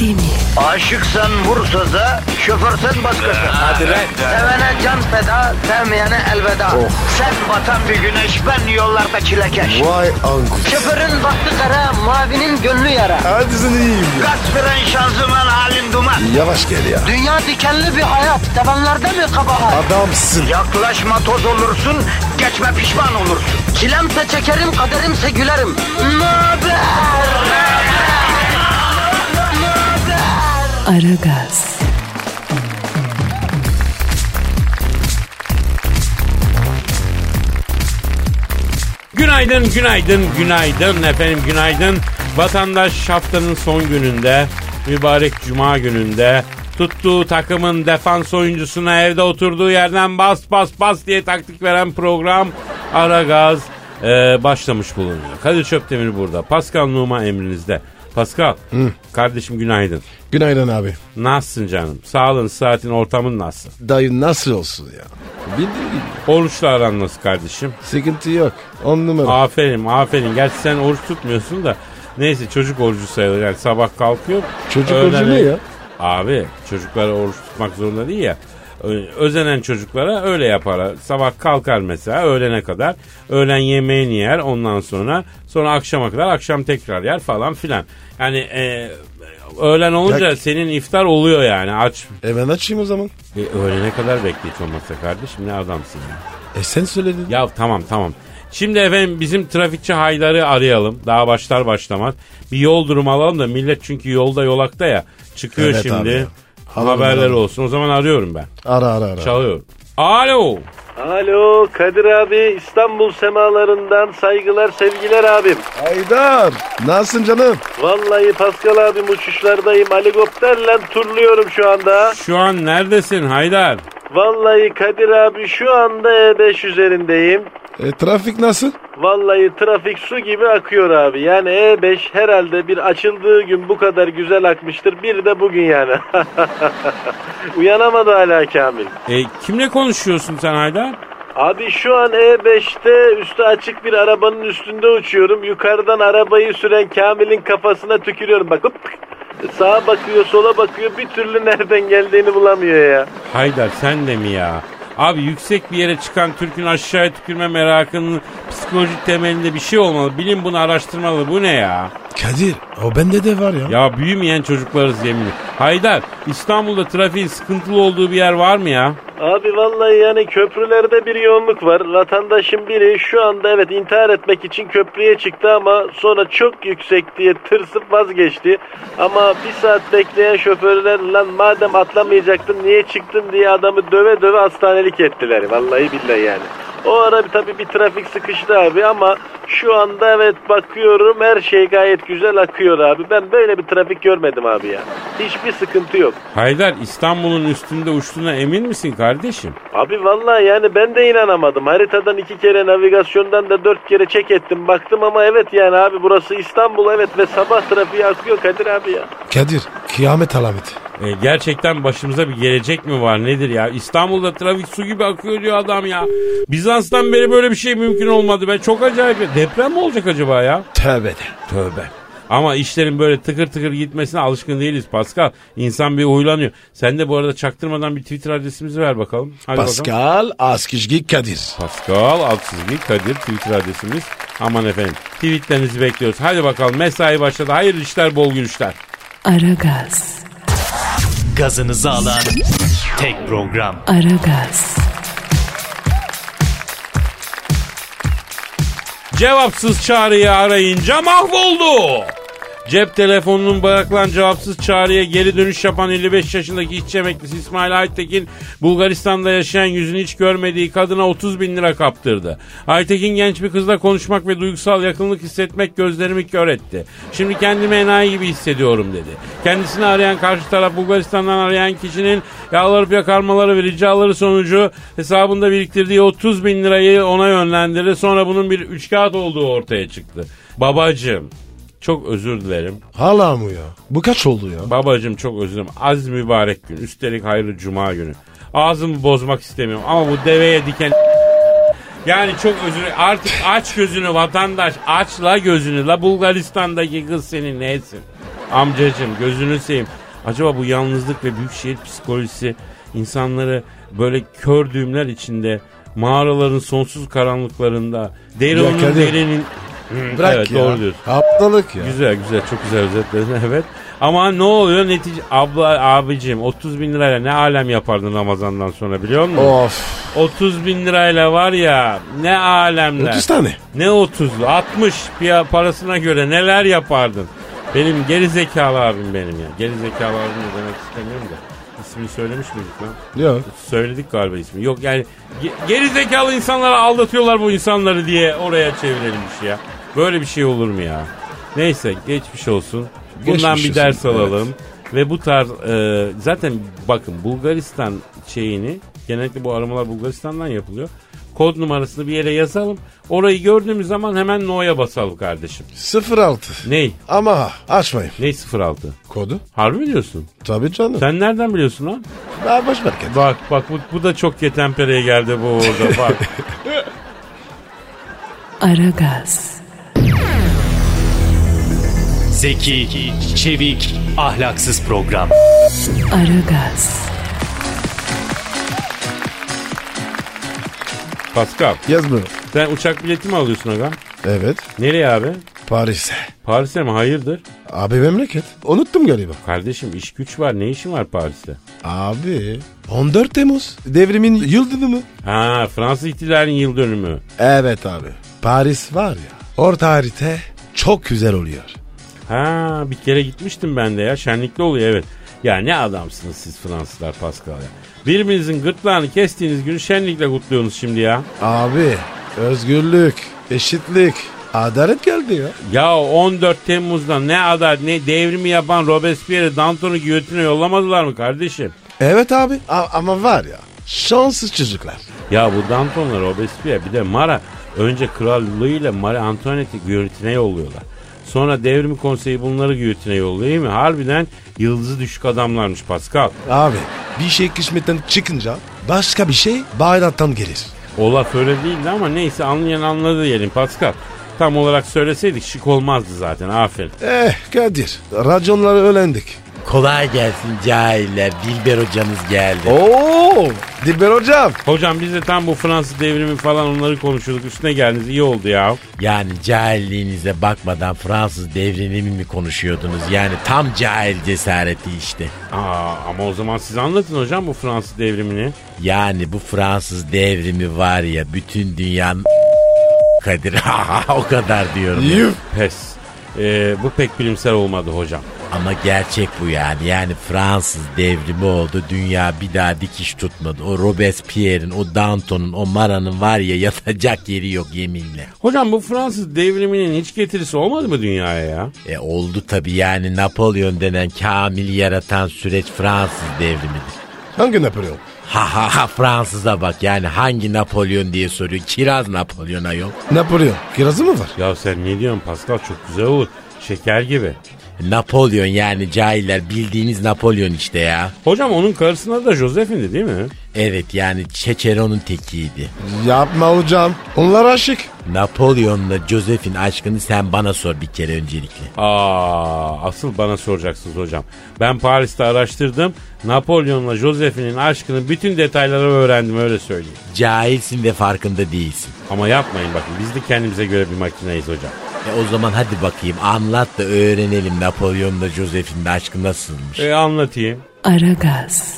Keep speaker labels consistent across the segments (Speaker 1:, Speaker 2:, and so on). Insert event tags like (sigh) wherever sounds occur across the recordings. Speaker 1: değil mi?
Speaker 2: Aşıksan vursa da, şoförsen başkasın.
Speaker 3: Hadi lan. Oh.
Speaker 2: Sevene can feda, sevmeyene elveda. Sen batan bir güneş, ben yollarda çilekeş.
Speaker 3: Vay anku.
Speaker 2: Şoförün baktı kara, mavinin gönlü yara.
Speaker 3: Hadi sen iyiyim ya.
Speaker 2: Kasperen şanzıman halin duman.
Speaker 3: Yavaş gel ya.
Speaker 2: Dünya dikenli bir hayat, sevenlerde mi kabahar?
Speaker 3: Adamsın.
Speaker 2: Yaklaşma toz olursun, geçme pişman olursun. Çilemse çekerim, kaderimse gülerim. Möber!
Speaker 1: Aragaz,
Speaker 4: Günaydın, günaydın, günaydın efendim, günaydın. Vatandaş haftanın son gününde, mübarek cuma gününde tuttuğu takımın defans oyuncusuna evde oturduğu yerden bas bas bas diye taktik veren program Aragaz eee, başlamış bulunuyor. Kadir Çöptemir burada. Pascal Numa emrinizde. Pascal, kardeşim günaydın.
Speaker 3: Günaydın abi.
Speaker 4: Nasılsın canım? Sağlığın, saatin, ortamın nasıl?
Speaker 3: Dayı nasıl olsun ya? Bildiğin gibi.
Speaker 4: Oruçla aran nasıl kardeşim?
Speaker 3: Sıkıntı yok. On numara.
Speaker 4: Aferin aferin. Gerçi sen oruç tutmuyorsun da neyse çocuk orucu sayılır. Yani sabah kalkıyor.
Speaker 3: Çocuk orucu ne ya?
Speaker 4: Abi çocuklara oruç tutmak zorunda değil ya. Ö- Özenen çocuklara öyle yapar. Sabah kalkar mesela öğlene kadar. Öğlen yemeğini yer ondan sonra. Sonra akşama kadar akşam tekrar yer falan filan. Yani e, öğlen olunca
Speaker 3: Ya-
Speaker 4: senin iftar oluyor yani aç.
Speaker 3: E ben açayım o zaman.
Speaker 4: E, öğlene kadar bekleyici olmasa kardeşim ne adamsın ya.
Speaker 3: E sen söyledin.
Speaker 4: Ya tamam tamam. Şimdi efendim bizim trafikçi Haydar'ı arayalım. Daha başlar başlamaz. Bir yol durumu alalım da millet çünkü yolda yolakta ya. Çıkıyor
Speaker 3: Evet abi ya.
Speaker 4: şimdi.
Speaker 3: Alalım,
Speaker 4: Haberler
Speaker 3: alalım.
Speaker 4: olsun. O zaman arıyorum ben.
Speaker 3: Ara ara ara.
Speaker 4: Çalıyorum. Alo.
Speaker 5: Alo Kadir abi İstanbul semalarından saygılar sevgiler abim.
Speaker 3: Haydar. Nasılsın canım?
Speaker 5: Vallahi Pascal abim uçuşlardayım helikopterle turluyorum şu anda.
Speaker 4: Şu an neredesin Haydar?
Speaker 5: Vallahi Kadir abi şu anda E5 üzerindeyim.
Speaker 3: E trafik nasıl?
Speaker 5: Vallahi trafik su gibi akıyor abi. Yani E5 herhalde bir açıldığı gün bu kadar güzel akmıştır. Bir de bugün yani. (laughs) Uyanamadı hala Kamil.
Speaker 4: E, kimle konuşuyorsun sen Haydar?
Speaker 5: Abi şu an E5'te üstü açık bir arabanın üstünde uçuyorum. Yukarıdan arabayı süren Kamil'in kafasına tükürüyorum. Bak hop. Sağa bakıyor, sola bakıyor. Bir türlü nereden geldiğini bulamıyor ya.
Speaker 4: Haydar sen de mi ya? Abi yüksek bir yere çıkan Türk'ün aşağıya tükürme merakının psikolojik temelinde bir şey olmalı. Bilim bunu araştırmalı. Bu ne ya?
Speaker 3: Kadir o bende de var ya.
Speaker 4: Ya büyümeyen çocuklarız yeminle. Haydar İstanbul'da trafiğin sıkıntılı olduğu bir yer var mı ya?
Speaker 5: Abi vallahi yani köprülerde bir yoğunluk var. Vatandaşın biri şu anda evet intihar etmek için köprüye çıktı ama sonra çok yüksek diye tırsıp vazgeçti. Ama bir saat bekleyen şoförler lan madem atlamayacaktın niye çıktın diye adamı döve döve hastanelik ettiler. Vallahi billahi yani. O ara bir- tabii bir trafik sıkıştı abi ama şu anda evet bakıyorum her şey gayet güzel akıyor abi. Ben böyle bir trafik görmedim abi ya. Hiçbir sıkıntı yok.
Speaker 4: Haydar İstanbul'un üstünde uçtuğuna emin misin kardeşim?
Speaker 5: Abi vallahi yani ben de inanamadım. Haritadan iki kere navigasyondan da dört kere çek ettim. Baktım ama evet yani abi burası İstanbul evet ve sabah trafiği akıyor Kadir abi ya.
Speaker 3: Kadir kıyamet alameti.
Speaker 4: E, gerçekten başımıza bir gelecek mi var nedir ya? İstanbul'da trafik su gibi akıyor diyor adam ya. Bizans'tan beri böyle bir şey mümkün olmadı. Ben çok acayip. Deprem mi olacak acaba ya?
Speaker 3: Tövbe de.
Speaker 4: Tövbe. Ama işlerin böyle tıkır tıkır gitmesine alışkın değiliz Pascal. İnsan bir huylanıyor. Sen de bu arada çaktırmadan bir Twitter adresimizi ver bakalım. Hadi bakalım.
Speaker 3: Pascal Askizgi Kadir.
Speaker 4: Pascal Altçizgi Kadir Twitter adresimiz. Aman efendim tweetlerinizi bekliyoruz. Hadi bakalım mesai başladı. Hayırlı işler bol gülüşler.
Speaker 1: Aragaz,
Speaker 6: gazınızı alan tek program.
Speaker 1: Aragaz,
Speaker 4: Cevapsız çağrıyı arayınca mahvoldu. Cep telefonunun bırakılan cevapsız çağrıya geri dönüş yapan 55 yaşındaki işçi emeklisi İsmail Aytekin Bulgaristan'da yaşayan yüzünü hiç görmediği kadına 30 bin lira kaptırdı. Aytekin genç bir kızla konuşmak ve duygusal yakınlık hissetmek gözlerimi kör etti. Şimdi kendimi enayi gibi hissediyorum dedi. Kendisini arayan karşı taraf Bulgaristan'dan arayan kişinin yalvarıp yakarmaları ve ricaları sonucu hesabında biriktirdiği 30 bin lirayı ona yönlendirdi. Sonra bunun bir üç kağıt olduğu ortaya çıktı. Babacığım çok özür dilerim.
Speaker 3: Hala mı ya? Bu kaç oldu ya?
Speaker 4: Babacığım çok özür dilerim. Az mübarek gün. Üstelik hayırlı cuma günü. Ağzımı bozmak istemiyorum ama bu deveye diken... (laughs) Yani çok özür Artık aç gözünü vatandaş. Aç la gözünü. La Bulgaristan'daki kız senin neysin? Amcacım gözünü seveyim. Acaba bu yalnızlık ve büyükşehir psikolojisi insanları böyle kör düğümler içinde mağaraların sonsuz karanlıklarında
Speaker 3: Ya
Speaker 4: Deron'un
Speaker 3: Kadir,
Speaker 4: derinin Hı,
Speaker 3: Bırak
Speaker 4: evet,
Speaker 3: ya.
Speaker 4: doğru diyorsun.
Speaker 3: Aptallık ya.
Speaker 4: Güzel güzel çok güzel özetledin (laughs) evet. Ama ne oluyor netice abla abicim 30 bin lirayla ne alem yapardın Ramazan'dan sonra biliyor musun?
Speaker 3: Of.
Speaker 4: 30 bin lirayla var ya ne alemler.
Speaker 3: 30 tane.
Speaker 4: Ne 30'lu 60 piya parasına göre neler yapardın? Benim geri zekalı abim benim ya. Geri zekalı abim de demek istemiyorum da. İsmini söylemiş miydik lan?
Speaker 3: Yok.
Speaker 4: Söyledik galiba ismi. Yok yani ge- geri zekalı insanlara aldatıyorlar bu insanları diye oraya çevirilmiş ya. Böyle bir şey olur mu ya? Neyse geçmiş olsun. Bundan
Speaker 3: Geçmiş
Speaker 4: bir ders
Speaker 3: olsun,
Speaker 4: alalım. Ve bu tarz e, zaten bakın Bulgaristan şeyini genellikle bu aramalar Bulgaristan'dan yapılıyor. Kod numarasını bir yere yazalım. Orayı gördüğümüz zaman hemen no'ya basalım kardeşim.
Speaker 3: 06.
Speaker 4: Ney?
Speaker 3: Ama açmayın.
Speaker 4: Ney 06?
Speaker 3: Kodu.
Speaker 4: Harbi mi diyorsun?
Speaker 3: Tabii canım.
Speaker 4: Sen nereden biliyorsun lan?
Speaker 3: Daha boş ver Kadir.
Speaker 4: Bak bak bu, bu da çok ketempereye geldi bu orada bak.
Speaker 3: (laughs)
Speaker 1: Aragaz,
Speaker 6: Zeki, çevik, ahlaksız program.
Speaker 1: Aragaz,
Speaker 4: Pascal
Speaker 3: Yazmıyorum.
Speaker 4: sen uçak bileti mi alıyorsun aga?
Speaker 3: Evet.
Speaker 4: Nereye abi?
Speaker 3: Paris'e.
Speaker 4: Paris'e mi? Hayırdır?
Speaker 3: Abi memleket. Unuttum galiba.
Speaker 4: Kardeşim iş güç var. Ne işin var Paris'te?
Speaker 3: Abi. 14 Temmuz. Devrimin yıl dönümü.
Speaker 4: Ha Fransız ihtilalinin yıl dönümü.
Speaker 3: Evet abi. Paris var ya. Orta harita çok güzel oluyor.
Speaker 4: Ha bir kere gitmiştim ben de ya. Şenlikli oluyor evet. Ya ne adamsınız siz Fransızlar Pascal ya. Birbirinizin gırtlağını kestiğiniz günü şenlikle kutluyorsunuz şimdi ya.
Speaker 3: Abi. Özgürlük. Eşitlik. Adalet geldi ya.
Speaker 4: Ya 14 Temmuz'da ne adar ne devrimi yapan Robespierre Danton'u giyotine yollamadılar mı kardeşim?
Speaker 3: Evet abi. A- ama var ya. Şanssız çocuklar.
Speaker 4: Ya bu Danton'la Robespierre bir de Mara önce krallığıyla Marie Antoinette'i güyotine yolluyorlar. Sonra devrim konseyi bunları güyotine yolluyor değil mi? Harbiden yıldızı düşük adamlarmış Pascal.
Speaker 3: Abi. Bir şey kısmetten çıkınca başka bir şey bayraktan gelir.
Speaker 4: O laf öyle değildi ama neyse anlayan anladı diyelim Pascal. Tam olarak söyleseydik şık olmazdı zaten aferin.
Speaker 3: Eh Kadir. Raconları öğrendik.
Speaker 7: Kolay gelsin cahiller. Dilber hocanız geldi.
Speaker 3: Oo, Dilber hocam.
Speaker 4: Hocam biz de tam bu Fransız devrimi falan onları konuşuyorduk üstüne geldiniz iyi oldu ya.
Speaker 7: Yani cahilliğinize bakmadan Fransız devrimini mi konuşuyordunuz? Yani tam cahil cesareti işte.
Speaker 4: Aa, ama o zaman siz anlatın hocam bu Fransız devrimini.
Speaker 7: Yani bu Fransız devrimi var ya bütün dünyanın (laughs) Kadir (laughs) o kadar diyorum. ya.
Speaker 4: Pes. Ee, bu pek bilimsel olmadı hocam.
Speaker 7: Ama gerçek bu yani. Yani Fransız devrimi oldu. Dünya bir daha dikiş tutmadı. O Robespierre'in, o Danton'un, o Mara'nın var ya (laughs) yatacak yeri yok yeminle.
Speaker 4: Hocam bu Fransız devriminin hiç getirisi olmadı mı dünyaya ya?
Speaker 7: E oldu tabii yani Napolyon denen kamil yaratan süreç Fransız devrimidir.
Speaker 3: Hangi Napolyon?
Speaker 7: Ha ha ha Fransız'a bak yani hangi Napolyon diye soruyor. Kiraz Napolyon'a yok.
Speaker 3: Napolyon. Kirazı mı var?
Speaker 4: Ya sen ne diyorsun Pascal çok güzel olur. Şeker gibi.
Speaker 7: Napolyon yani cahiller bildiğiniz Napolyon işte ya.
Speaker 4: Hocam onun karısına da Joseph'indi değil mi?
Speaker 7: Evet yani Çeçeron'un tekiydi.
Speaker 3: Yapma hocam. Onlar aşık.
Speaker 7: Napolyon'la Joseph'in aşkını sen bana sor bir kere öncelikle.
Speaker 4: Aa, asıl bana soracaksınız hocam. Ben Paris'te araştırdım. Napolyon'la Joseph'inin aşkını bütün detayları öğrendim öyle söyleyeyim.
Speaker 7: Cahilsin ve farkında değilsin.
Speaker 4: Ama yapmayın bakın biz de kendimize göre bir makineyiz hocam.
Speaker 7: E o zaman hadi bakayım anlat da öğrenelim Napolyon'la Joseph'in de aşkı nasılmış.
Speaker 4: E anlatayım.
Speaker 1: Aragaz,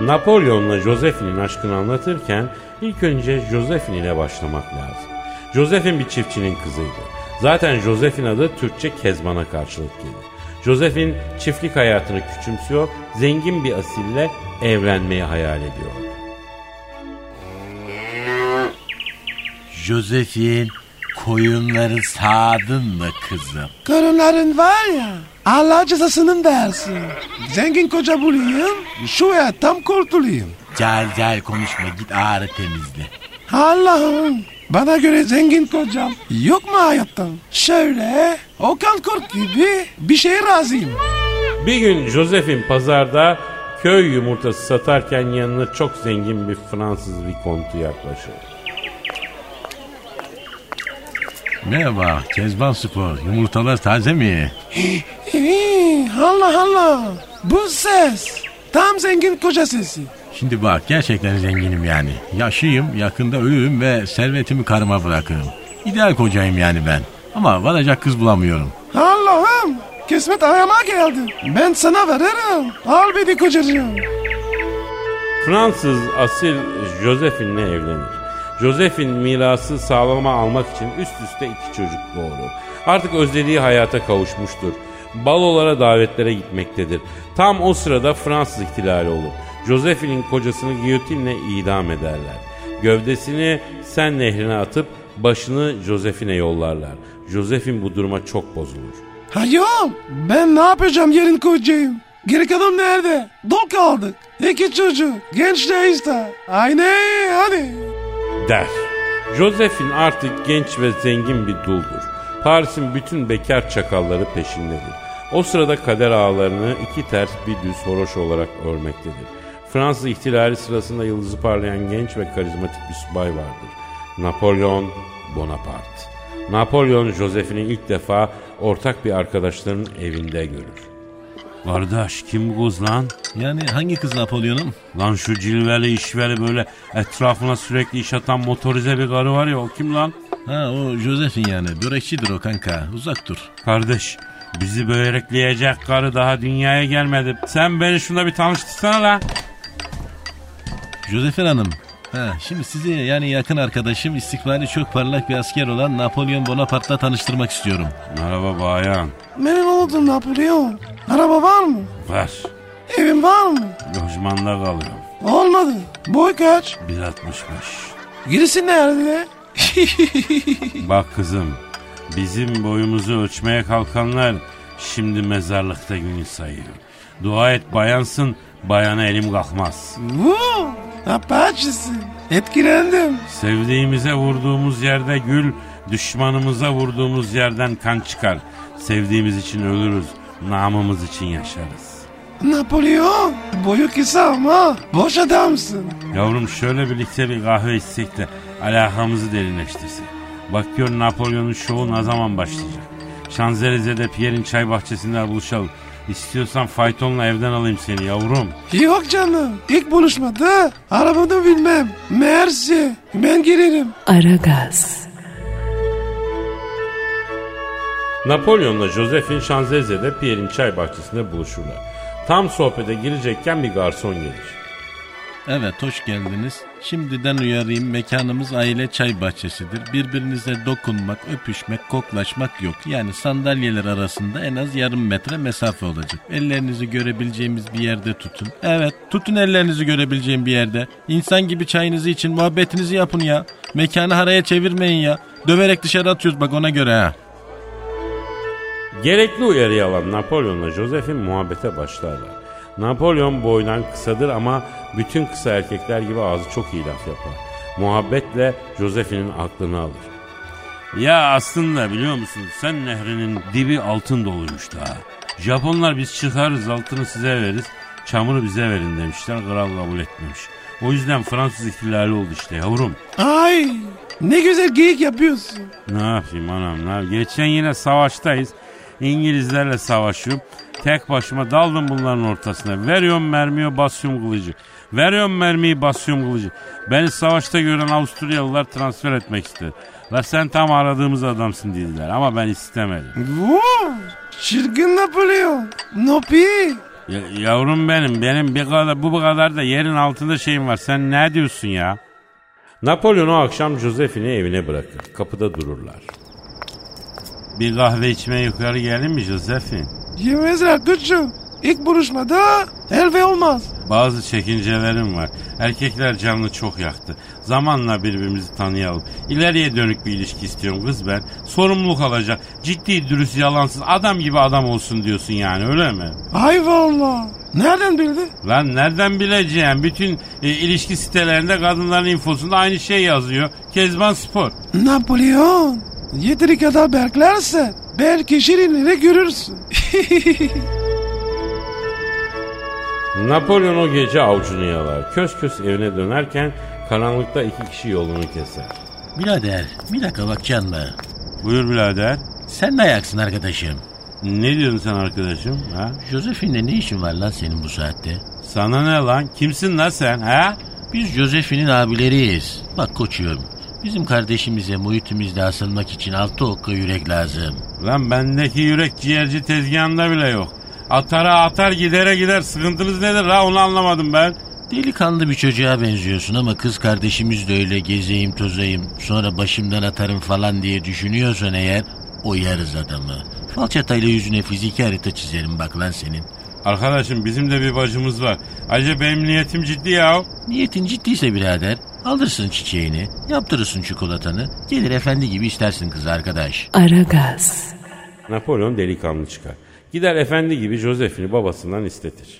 Speaker 4: Napolyon'la Josephine aşkını anlatırken ilk önce Josephine ile başlamak lazım. Josephine bir çiftçinin kızıydı. Zaten Josephine adı Türkçe Kezban'a karşılık gelir. Josephine çiftlik hayatını küçümsüyor, zengin bir asille evlenmeyi hayal ediyor.
Speaker 7: Joseph'in koyunları sağdın mı kızım?
Speaker 3: Karınların var ya. Allah cezasının versin. Zengin koca bulayım. Şu ya tam kurtulayım.
Speaker 7: Cahil cahil konuşma git ağrı temizle.
Speaker 3: Allah'ım. Bana göre zengin kocam yok mu hayatta? Şöyle Okan Kurt gibi bir şeye razıyım.
Speaker 4: Bir gün Josephine pazarda Köy yumurtası satarken yanına çok zengin bir Fransız vikontu yaklaşıyor.
Speaker 8: Merhaba Kezban Spor. Yumurtalar taze mi?
Speaker 3: Ee, Allah Allah. Bu ses. Tam zengin koca sesi.
Speaker 8: Şimdi bak gerçekten zenginim yani. Yaşlıyım, yakında ölürüm ve servetimi karıma bırakırım. İdeal kocayım yani ben. Ama varacak kız bulamıyorum.
Speaker 3: Allah'ım. Kısmet ayağıma geldi. Ben sana veririm. Al beni kocacığım.
Speaker 4: Fransız asil Josephine'le evlenir. Josephine mirası sağlama almak için üst üste iki çocuk doğurur. Artık özlediği hayata kavuşmuştur. Balolara davetlere gitmektedir. Tam o sırada Fransız ihtilali olur. Josephine'in kocasını giyotinle idam ederler. Gövdesini Sen nehrine atıp başını Josephine'e yollarlar. Josephine bu duruma çok bozulur.
Speaker 3: Hayol. Ben ne yapacağım yarın kocayım? Geri kalan nerede? Dok aldık. İki çocuk. Gençler işte. Aynı hadi.
Speaker 4: der. Josephine artık genç ve zengin bir duldur. Paris'in bütün bekar çakalları peşindedir. O sırada kader ağlarını iki ters bir düz horoş olarak örmektedir. Fransız ihtilali sırasında yıldızı parlayan genç ve karizmatik bir subay vardır. Napolyon Bonaparte. Napolyon Josephine'i ilk defa ortak bir arkadaşlarının evinde görür. Kardeş kim bu kız lan?
Speaker 8: Yani hangi kız Napolyon'um?
Speaker 4: Lan şu cilveli işveli böyle etrafına sürekli iş atan motorize bir karı var ya o kim lan?
Speaker 8: Ha o Josephine yani. Börekçidir o kanka. Uzak dur.
Speaker 4: Kardeş bizi börekleyecek karı daha dünyaya gelmedi. Sen beni şuna bir tanıştırsana la.
Speaker 8: Josephine Hanım. Ha, şimdi sizi yani yakın arkadaşım istikbali çok parlak bir asker olan Napolyon Bonaparte'la tanıştırmak istiyorum.
Speaker 4: Merhaba bayan.
Speaker 3: Memnun oldum Napolyon. Araba var mı?
Speaker 4: Ver.
Speaker 3: Evin var mı?
Speaker 4: Lojmanda kalıyorum.
Speaker 3: Olmadı. Boy kaç?
Speaker 4: 1.65.
Speaker 3: Girisi nerede? (laughs)
Speaker 4: Bak kızım bizim boyumuzu ölçmeye kalkanlar şimdi mezarlıkta günü sayıyor. Dua et bayansın bayana elim kalkmaz.
Speaker 3: Vuu. Apaçısı. Etkilendim.
Speaker 4: Sevdiğimize vurduğumuz yerde gül, düşmanımıza vurduğumuz yerden kan çıkar. Sevdiğimiz için ölürüz, namımız için yaşarız.
Speaker 3: Napolyon. Boyu kısa ama boş adamsın.
Speaker 4: Yavrum şöyle birlikte bir kahve içsek de alakamızı derinleştirsek. Bak gör Napolyon'un şovu ne zaman başlayacak. Şanzelize'de Pierre'in çay bahçesinde buluşalım. İstiyorsan faytonla evden alayım seni yavrum.
Speaker 3: Yok canım. İlk buluşmada arabamı bilmem. Mersi. Ben girerim.
Speaker 1: Aragaz.
Speaker 4: Napolyon'la Josephine Şanzelize'de Pierre'in çay bahçesinde buluşurlar. Tam sohbete girecekken bir garson gelir.
Speaker 8: Evet hoş geldiniz. Şimdiden uyarayım mekanımız aile çay bahçesidir. Birbirinize dokunmak, öpüşmek, koklaşmak yok. Yani sandalyeler arasında en az yarım metre mesafe olacak. Ellerinizi görebileceğimiz bir yerde tutun. Evet tutun ellerinizi görebileceğim bir yerde. İnsan gibi çayınızı için muhabbetinizi yapın ya. Mekanı haraya çevirmeyin ya. Döverek dışarı atıyoruz bak ona göre ha.
Speaker 4: Gerekli uyarıyı alan Napolyon'la Joseph'in muhabbete başlarlar. Napolyon boydan kısadır ama bütün kısa erkekler gibi ağzı çok iyi laf yapar. Muhabbetle Joseph'in aklını alır. Ya aslında biliyor musun sen nehrinin dibi altın doluymuş daha. Japonlar biz çıkarız altını size veririz, çamuru bize verin demişler kral kabul etmemiş. O yüzden Fransız ihtilali oldu işte yavrum.
Speaker 3: Ay. Ne güzel geyik yapıyorsun.
Speaker 4: Ne yapayım anam ne yap- Geçen yine savaştayız. İngilizlerle savaşıyorum. Tek başıma daldım bunların ortasına. Veriyorum mermiyi basıyorum kılıcı. Veriyorum mermiyi basıyorum kılıcı. Beni savaşta gören Avusturyalılar transfer etmek istedi. La sen tam aradığımız adamsın dediler ama ben istemedim.
Speaker 3: Vuu. Çirkin Napolyon. Nopi.
Speaker 4: Ya- yavrum benim, benim bir kadar, bu kadar da yerin altında şeyim var. Sen ne diyorsun ya? Napolyon o akşam Josephine'i evine bırakır. Kapıda dururlar. Bir kahve içmeye yukarı gelin mi Josephine?
Speaker 3: Yemezler küçüm. İlk buluşmada elve olmaz.
Speaker 4: Bazı çekincelerim var. Erkekler canını çok yaktı. Zamanla birbirimizi tanıyalım. İleriye dönük bir ilişki istiyorum kız ben. Sorumluluk alacak. Ciddi, dürüst, yalansız adam gibi adam olsun diyorsun yani öyle mi?
Speaker 3: Ay valla. Nereden bildi?
Speaker 4: Lan nereden bileceğim? Bütün e, ilişki sitelerinde kadınların infosunda aynı şey yazıyor. Kezban Spor.
Speaker 3: Napolyon. Yeteri kadar beklersen belki şirinleri görürsün.
Speaker 4: Napolyon o gece avcunu yalar. Kös kös evine dönerken karanlıkta iki kişi yolunu keser.
Speaker 9: Birader bir dakika bakacaksın mı?
Speaker 10: Buyur birader.
Speaker 9: Sen ne ayaksın arkadaşım?
Speaker 10: Ne diyorsun sen arkadaşım? Ha?
Speaker 9: Josefin'le ne işin var lan senin bu saatte?
Speaker 10: Sana ne lan? Kimsin lan sen? Ha?
Speaker 9: Biz Josefin'in abileriyiz. Bak koçum bizim kardeşimize muhitimizde asılmak için altı okka yürek lazım.
Speaker 10: Lan bendeki yürek ciğerci tezgahında bile yok. Atara atar gidere gider. Sıkıntınız nedir la onu anlamadım ben.
Speaker 9: Delikanlı bir çocuğa benziyorsun ama kız kardeşimiz de öyle gezeyim tozayım sonra başımdan atarım falan diye düşünüyorsan eğer oyarız adamı. Falçatayla yüzüne fiziki harita çizerim bak lan senin.
Speaker 10: Arkadaşım bizim de bir bacımız var. Ayrıca benim niyetim ciddi ya.
Speaker 9: Niyetin ciddiyse birader alırsın çiçeğini, yaptırırsın çikolatanı, gelir efendi gibi istersin kızı arkadaş.
Speaker 1: Aragaz.
Speaker 4: Napolyon delikanlı çıkar. Gider efendi gibi Joseph'ini babasından istetir.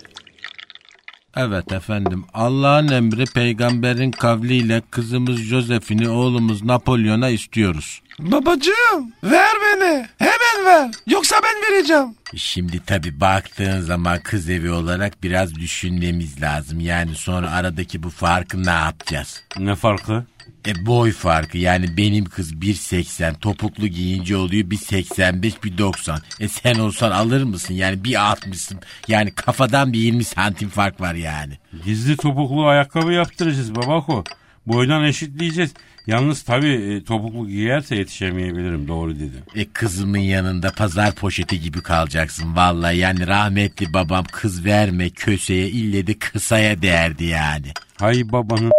Speaker 8: Evet efendim Allah'ın emri peygamberin kavliyle kızımız Josefini oğlumuz Napolyon'a istiyoruz.
Speaker 3: (laughs) Babacığım ver beni. Hemen ver. Yoksa ben vereceğim.
Speaker 7: Şimdi tabi baktığın zaman kız evi olarak biraz düşünmemiz lazım. Yani sonra aradaki bu farkı ne yapacağız?
Speaker 10: Ne farkı?
Speaker 7: E boy farkı yani benim kız 1.80 topuklu giyince oluyor 1.85 1.90. E sen olsan alır mısın yani 1.60'sın yani kafadan bir 20 santim fark var yani.
Speaker 10: Gizli topuklu ayakkabı yaptıracağız babako. Boydan eşitleyeceğiz. Yalnız tabii e, topuklu giyerse yetişemeyebilirim doğru dedi.
Speaker 7: E kızımın yanında pazar poşeti gibi kalacaksın vallahi yani rahmetli babam kız verme köseye ille de kısaya derdi yani.
Speaker 10: Hay babanın.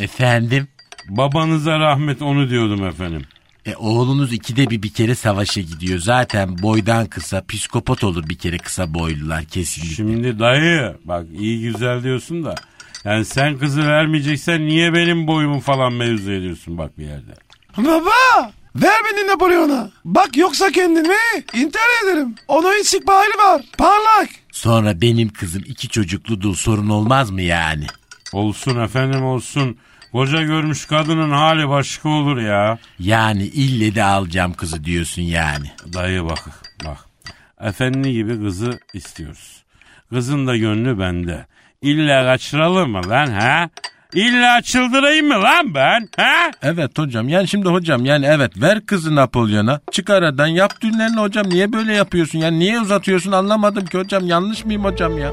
Speaker 7: Efendim?
Speaker 10: Babanıza rahmet onu diyordum efendim.
Speaker 7: E oğlunuz ikide bir bir kere savaşa gidiyor. Zaten boydan kısa psikopat olur bir kere kısa boylular kesinlikle.
Speaker 10: Şimdi dayı bak iyi güzel diyorsun da. Yani sen kızı vermeyeceksen niye benim boyumu falan mevzu ediyorsun bak bir yerde.
Speaker 3: Baba ver beni Napolyon'a. Bak yoksa kendimi intihar ederim. Onun istikbali var. Parlak.
Speaker 7: Sonra benim kızım iki çocuklu dul sorun olmaz mı yani?
Speaker 10: Olsun efendim olsun. Koca görmüş kadının hali başka olur ya.
Speaker 7: Yani ille de alacağım kızı diyorsun yani.
Speaker 10: Dayı bak bak. Efendi gibi kızı istiyoruz. Kızın da gönlü bende. İlla kaçıralım mı lan ha? İlla çıldırayım mı lan ben ha?
Speaker 8: Evet hocam yani şimdi hocam yani evet ver kızı Napolyon'a çık aradan yap düğünlerini hocam niye böyle yapıyorsun yani niye uzatıyorsun anlamadım ki hocam yanlış mıyım hocam ya?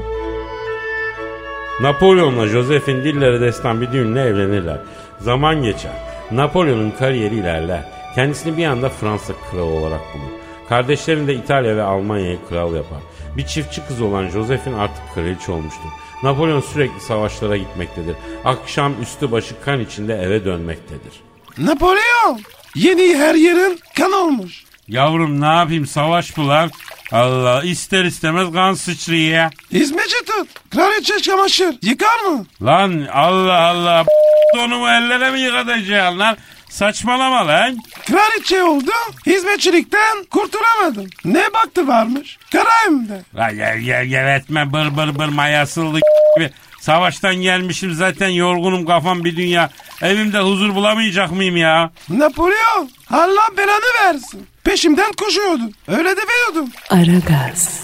Speaker 4: Napolyon'la Joseph'in dillere destan bir düğünle evlenirler. Zaman geçer. Napolyon'un kariyeri ilerler. Kendisini bir anda Fransa kralı olarak bulur. Kardeşlerini de İtalya ve Almanya'ya kral yapar. Bir çiftçi kız olan Joseph'in artık kraliçe olmuştur. Napolyon sürekli savaşlara gitmektedir. Akşam üstü başı kan içinde eve dönmektedir.
Speaker 3: Napolyon. Yeni her yerin kan olmuş.
Speaker 10: Yavrum ne yapayım savaş mı lan? Allah ister istemez kan sıçrıyor ya.
Speaker 3: Hizmetçi tut. Kraliçe çamaşır. Yıkar mı?
Speaker 10: Lan Allah Allah (laughs) donumu ellere mi yıkatacaksın lan? Saçmalama lan.
Speaker 3: Kraliçe oldu. Hizmetçilikten kurtulamadım. Ne baktı varmış? Karayımda.
Speaker 10: Lan gel gel gel etme bır bır bır mayasıldı (laughs) gibi. Savaştan gelmişim zaten yorgunum kafam bir dünya. Evimde huzur bulamayacak mıyım ya?
Speaker 3: Napolyon. Allah belanı versin. Peşimden koşuyordun. Öyle demiyordum.
Speaker 1: Aragaz.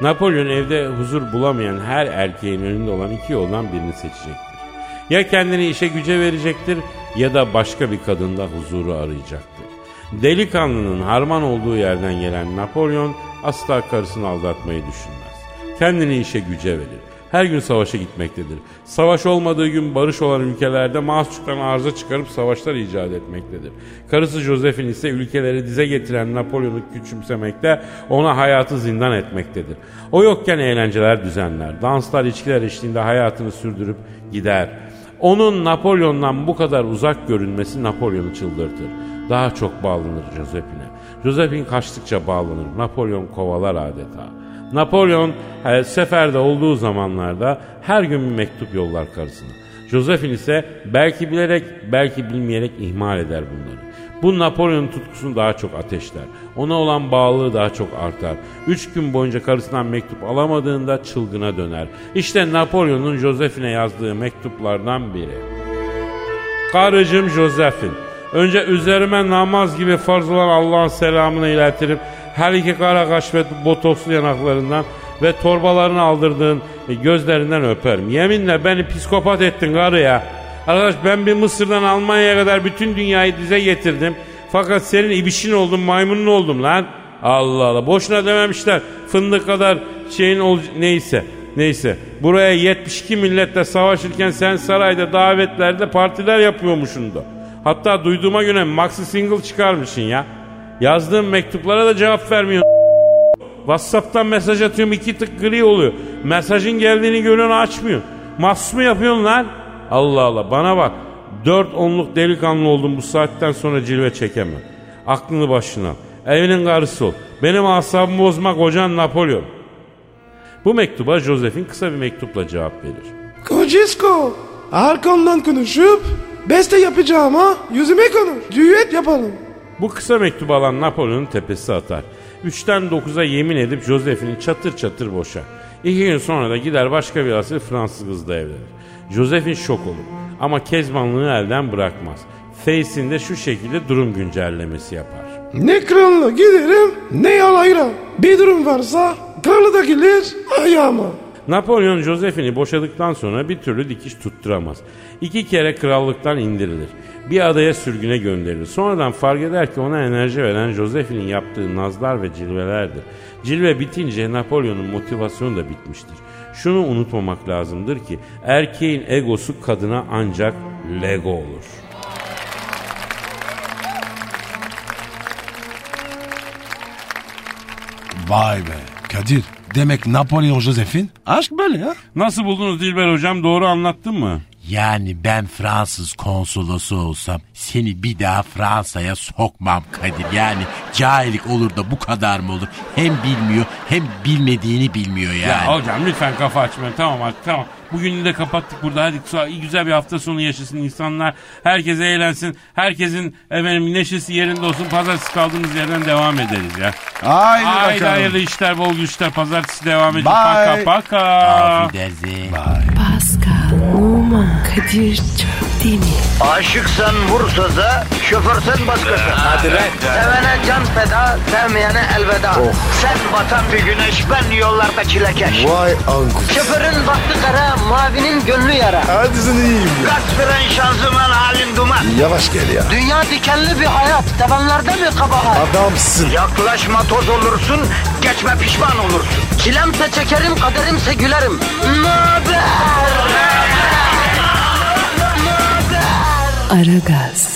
Speaker 4: Napolyon evde huzur bulamayan her erkeğin önünde olan iki yoldan birini seçecektir. Ya kendini işe güce verecektir ya da başka bir kadında huzuru arayacaktır. Delikanlının harman olduğu yerden gelen Napolyon asla karısını aldatmayı düşünmez. Kendini işe güce verir. Her gün savaşa gitmektedir. Savaş olmadığı gün barış olan ülkelerde mahsusçuktan arıza çıkarıp savaşlar icat etmektedir. Karısı Josephine ise ülkeleri dize getiren Napolyon'u küçümsemekte, ona hayatı zindan etmektedir. O yokken eğlenceler düzenler, danslar içkiler eşliğinde hayatını sürdürüp gider. Onun Napolyon'dan bu kadar uzak görünmesi Napolyon'u çıldırtır. Daha çok bağlanır Josephine. Josephine kaçtıkça bağlanır. Napolyon kovalar adeta. Napolyon e, seferde olduğu zamanlarda her gün bir mektup yollar karısına. Josephine ise belki bilerek belki bilmeyerek ihmal eder bunları. Bu Napolyon'un tutkusunu daha çok ateşler. Ona olan bağlılığı daha çok artar. Üç gün boyunca karısından mektup alamadığında çılgına döner. İşte Napolyon'un Josephine yazdığı mektuplardan biri. Karıcım Josephine. Önce üzerime namaz gibi farz olan Allah'ın selamını iletirim. her iki kara kaş ve botokslu yanaklarından ve torbalarını aldırdığın e, gözlerinden öperim. Yeminle beni psikopat ettin karı ya. Arkadaş ben bir Mısır'dan Almanya'ya kadar bütün dünyayı dize getirdim. Fakat senin ibişin oldum, maymunun oldum lan. Allah Allah. Boşuna dememişler. Fındık kadar şeyin ol neyse. Neyse. Buraya 72 milletle savaşırken sen sarayda davetlerde partiler yapıyormuşsun da. Hatta duyduğuma göre maxi single çıkarmışsın ya. Yazdığım mektuplara da cevap vermiyorsun. Whatsapp'tan mesaj atıyorum iki tık gri oluyor. Mesajın geldiğini görüyorsun açmıyorsun. Mahsus mu yapıyorsun lan? Allah Allah bana bak. Dört onluk delikanlı oldum bu saatten sonra cilve çekemem. Aklını başına al. Evinin karısı ol. Benim asabımı bozma kocan Napolyon. Bu mektuba Joseph'in kısa bir mektupla cevap verir.
Speaker 3: Kocisko arkamdan konuşup beste yapacağım ha. Yüzüme konuş. Düet yapalım.
Speaker 4: Bu kısa mektubu alan Napolyon'un tepesi atar. 3'ten 9'a yemin edip Joseph'ini çatır çatır boşar. İki gün sonra da gider başka bir asil Fransız kızla evlenir. Joseph'in şok olur ama kezbanlığını elden bırakmaz. Face'inde şu şekilde durum güncellemesi yapar.
Speaker 3: Ne kralına giderim ne yalayla. Bir durum varsa kralı da gelir ayağıma.
Speaker 4: Napolyon Joseph'ini boşadıktan sonra bir türlü dikiş tutturamaz. İki kere krallıktan indirilir. Bir adaya sürgüne gönderilir. Sonradan fark eder ki ona enerji veren Joseph'inin yaptığı nazlar ve cilvelerdir. Cilve bitince Napolyon'un motivasyonu da bitmiştir. Şunu unutmamak lazımdır ki erkeğin egosu kadına ancak Lego olur.
Speaker 11: Vay be. Kadir demek Napolyon Joseph'in aşk böyle ya.
Speaker 10: Nasıl buldunuz Dilber hocam doğru anlattın mı?
Speaker 7: Yani ben Fransız konsolosu olsam seni bir daha Fransa'ya sokmam Kadir. Yani cahillik olur da bu kadar mı olur? Hem bilmiyor hem bilmediğini bilmiyor yani.
Speaker 10: Ya hocam lütfen kafa açmayın tamam artık tamam. Bugünü de kapattık burada hadi sağ- güzel bir hafta sonu yaşasın insanlar. Herkes eğlensin. Herkesin efendim neşesi yerinde olsun. Pazartesi kaldığımız yerden devam ederiz ya.
Speaker 11: Haydi
Speaker 10: Haydi
Speaker 11: bakalım.
Speaker 10: hayırlı işler bol güçler. Pazartesi devam edin. Paka
Speaker 11: Bye.
Speaker 10: paka.
Speaker 7: Affedersin.
Speaker 1: Pascal, Oman, Kadir çok değil mi?
Speaker 2: Aşıksan vursa da, şoförsen başkasın. Hadi Sevene can feda, sevmeyene elveda.
Speaker 11: Oh.
Speaker 2: Sen batan bir güneş, ben yollarda çilekeş.
Speaker 11: Vay anku.
Speaker 2: Şoförün baktı kara, mavinin gönlü yara.
Speaker 11: Hadi sen iyiyim ya.
Speaker 2: Kasperen şanzıman halin duman.
Speaker 11: Yavaş gel ya.
Speaker 2: Dünya dikenli bir hayat, sevenlerde mi kabahar?
Speaker 11: Adamsın.
Speaker 2: Yaklaşma toz olursun, geçme pişman olursun. Çilemse çekerim, kaderimse gülerim. Möber!
Speaker 1: Aragaz.